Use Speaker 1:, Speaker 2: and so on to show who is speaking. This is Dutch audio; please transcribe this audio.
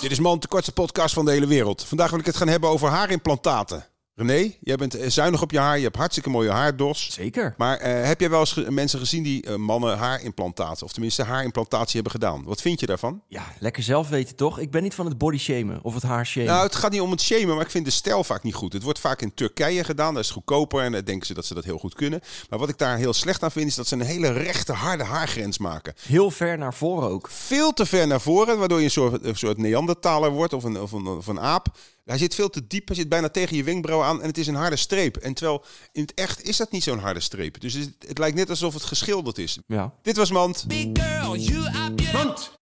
Speaker 1: Dit is Man, de kortste podcast van de hele wereld. Vandaag wil ik het gaan hebben over haarimplantaten. René, jij bent eh, zuinig op je haar. Je hebt hartstikke mooie haardos.
Speaker 2: Zeker.
Speaker 1: Maar eh, heb jij wel eens ge- mensen gezien die eh, mannen haarimplantaten... of tenminste haarimplantatie hebben gedaan? Wat vind je daarvan?
Speaker 2: Ja, lekker zelf weten toch? Ik ben niet van het body shamen of het haar shamen.
Speaker 1: Nou, het gaat niet om het shamen, maar ik vind de stijl vaak niet goed. Het wordt vaak in Turkije gedaan, dat is goedkoper en dan denken ze dat ze dat heel goed kunnen. Maar wat ik daar heel slecht aan vind, is dat ze een hele rechte, harde haargrens maken.
Speaker 2: Heel ver naar voren ook.
Speaker 1: Veel te ver naar voren, waardoor je een soort, een soort Neandertaler wordt of een, of, een, of een aap. Hij zit veel te diep, hij zit bijna tegen je wenkbrauw aan en het is een harde streep. En terwijl in het echt is dat niet zo'n harde streep. Dus het, het lijkt net alsof het geschilderd is.
Speaker 2: Ja.
Speaker 1: Dit was Mand.
Speaker 3: Big girl, you are beautiful.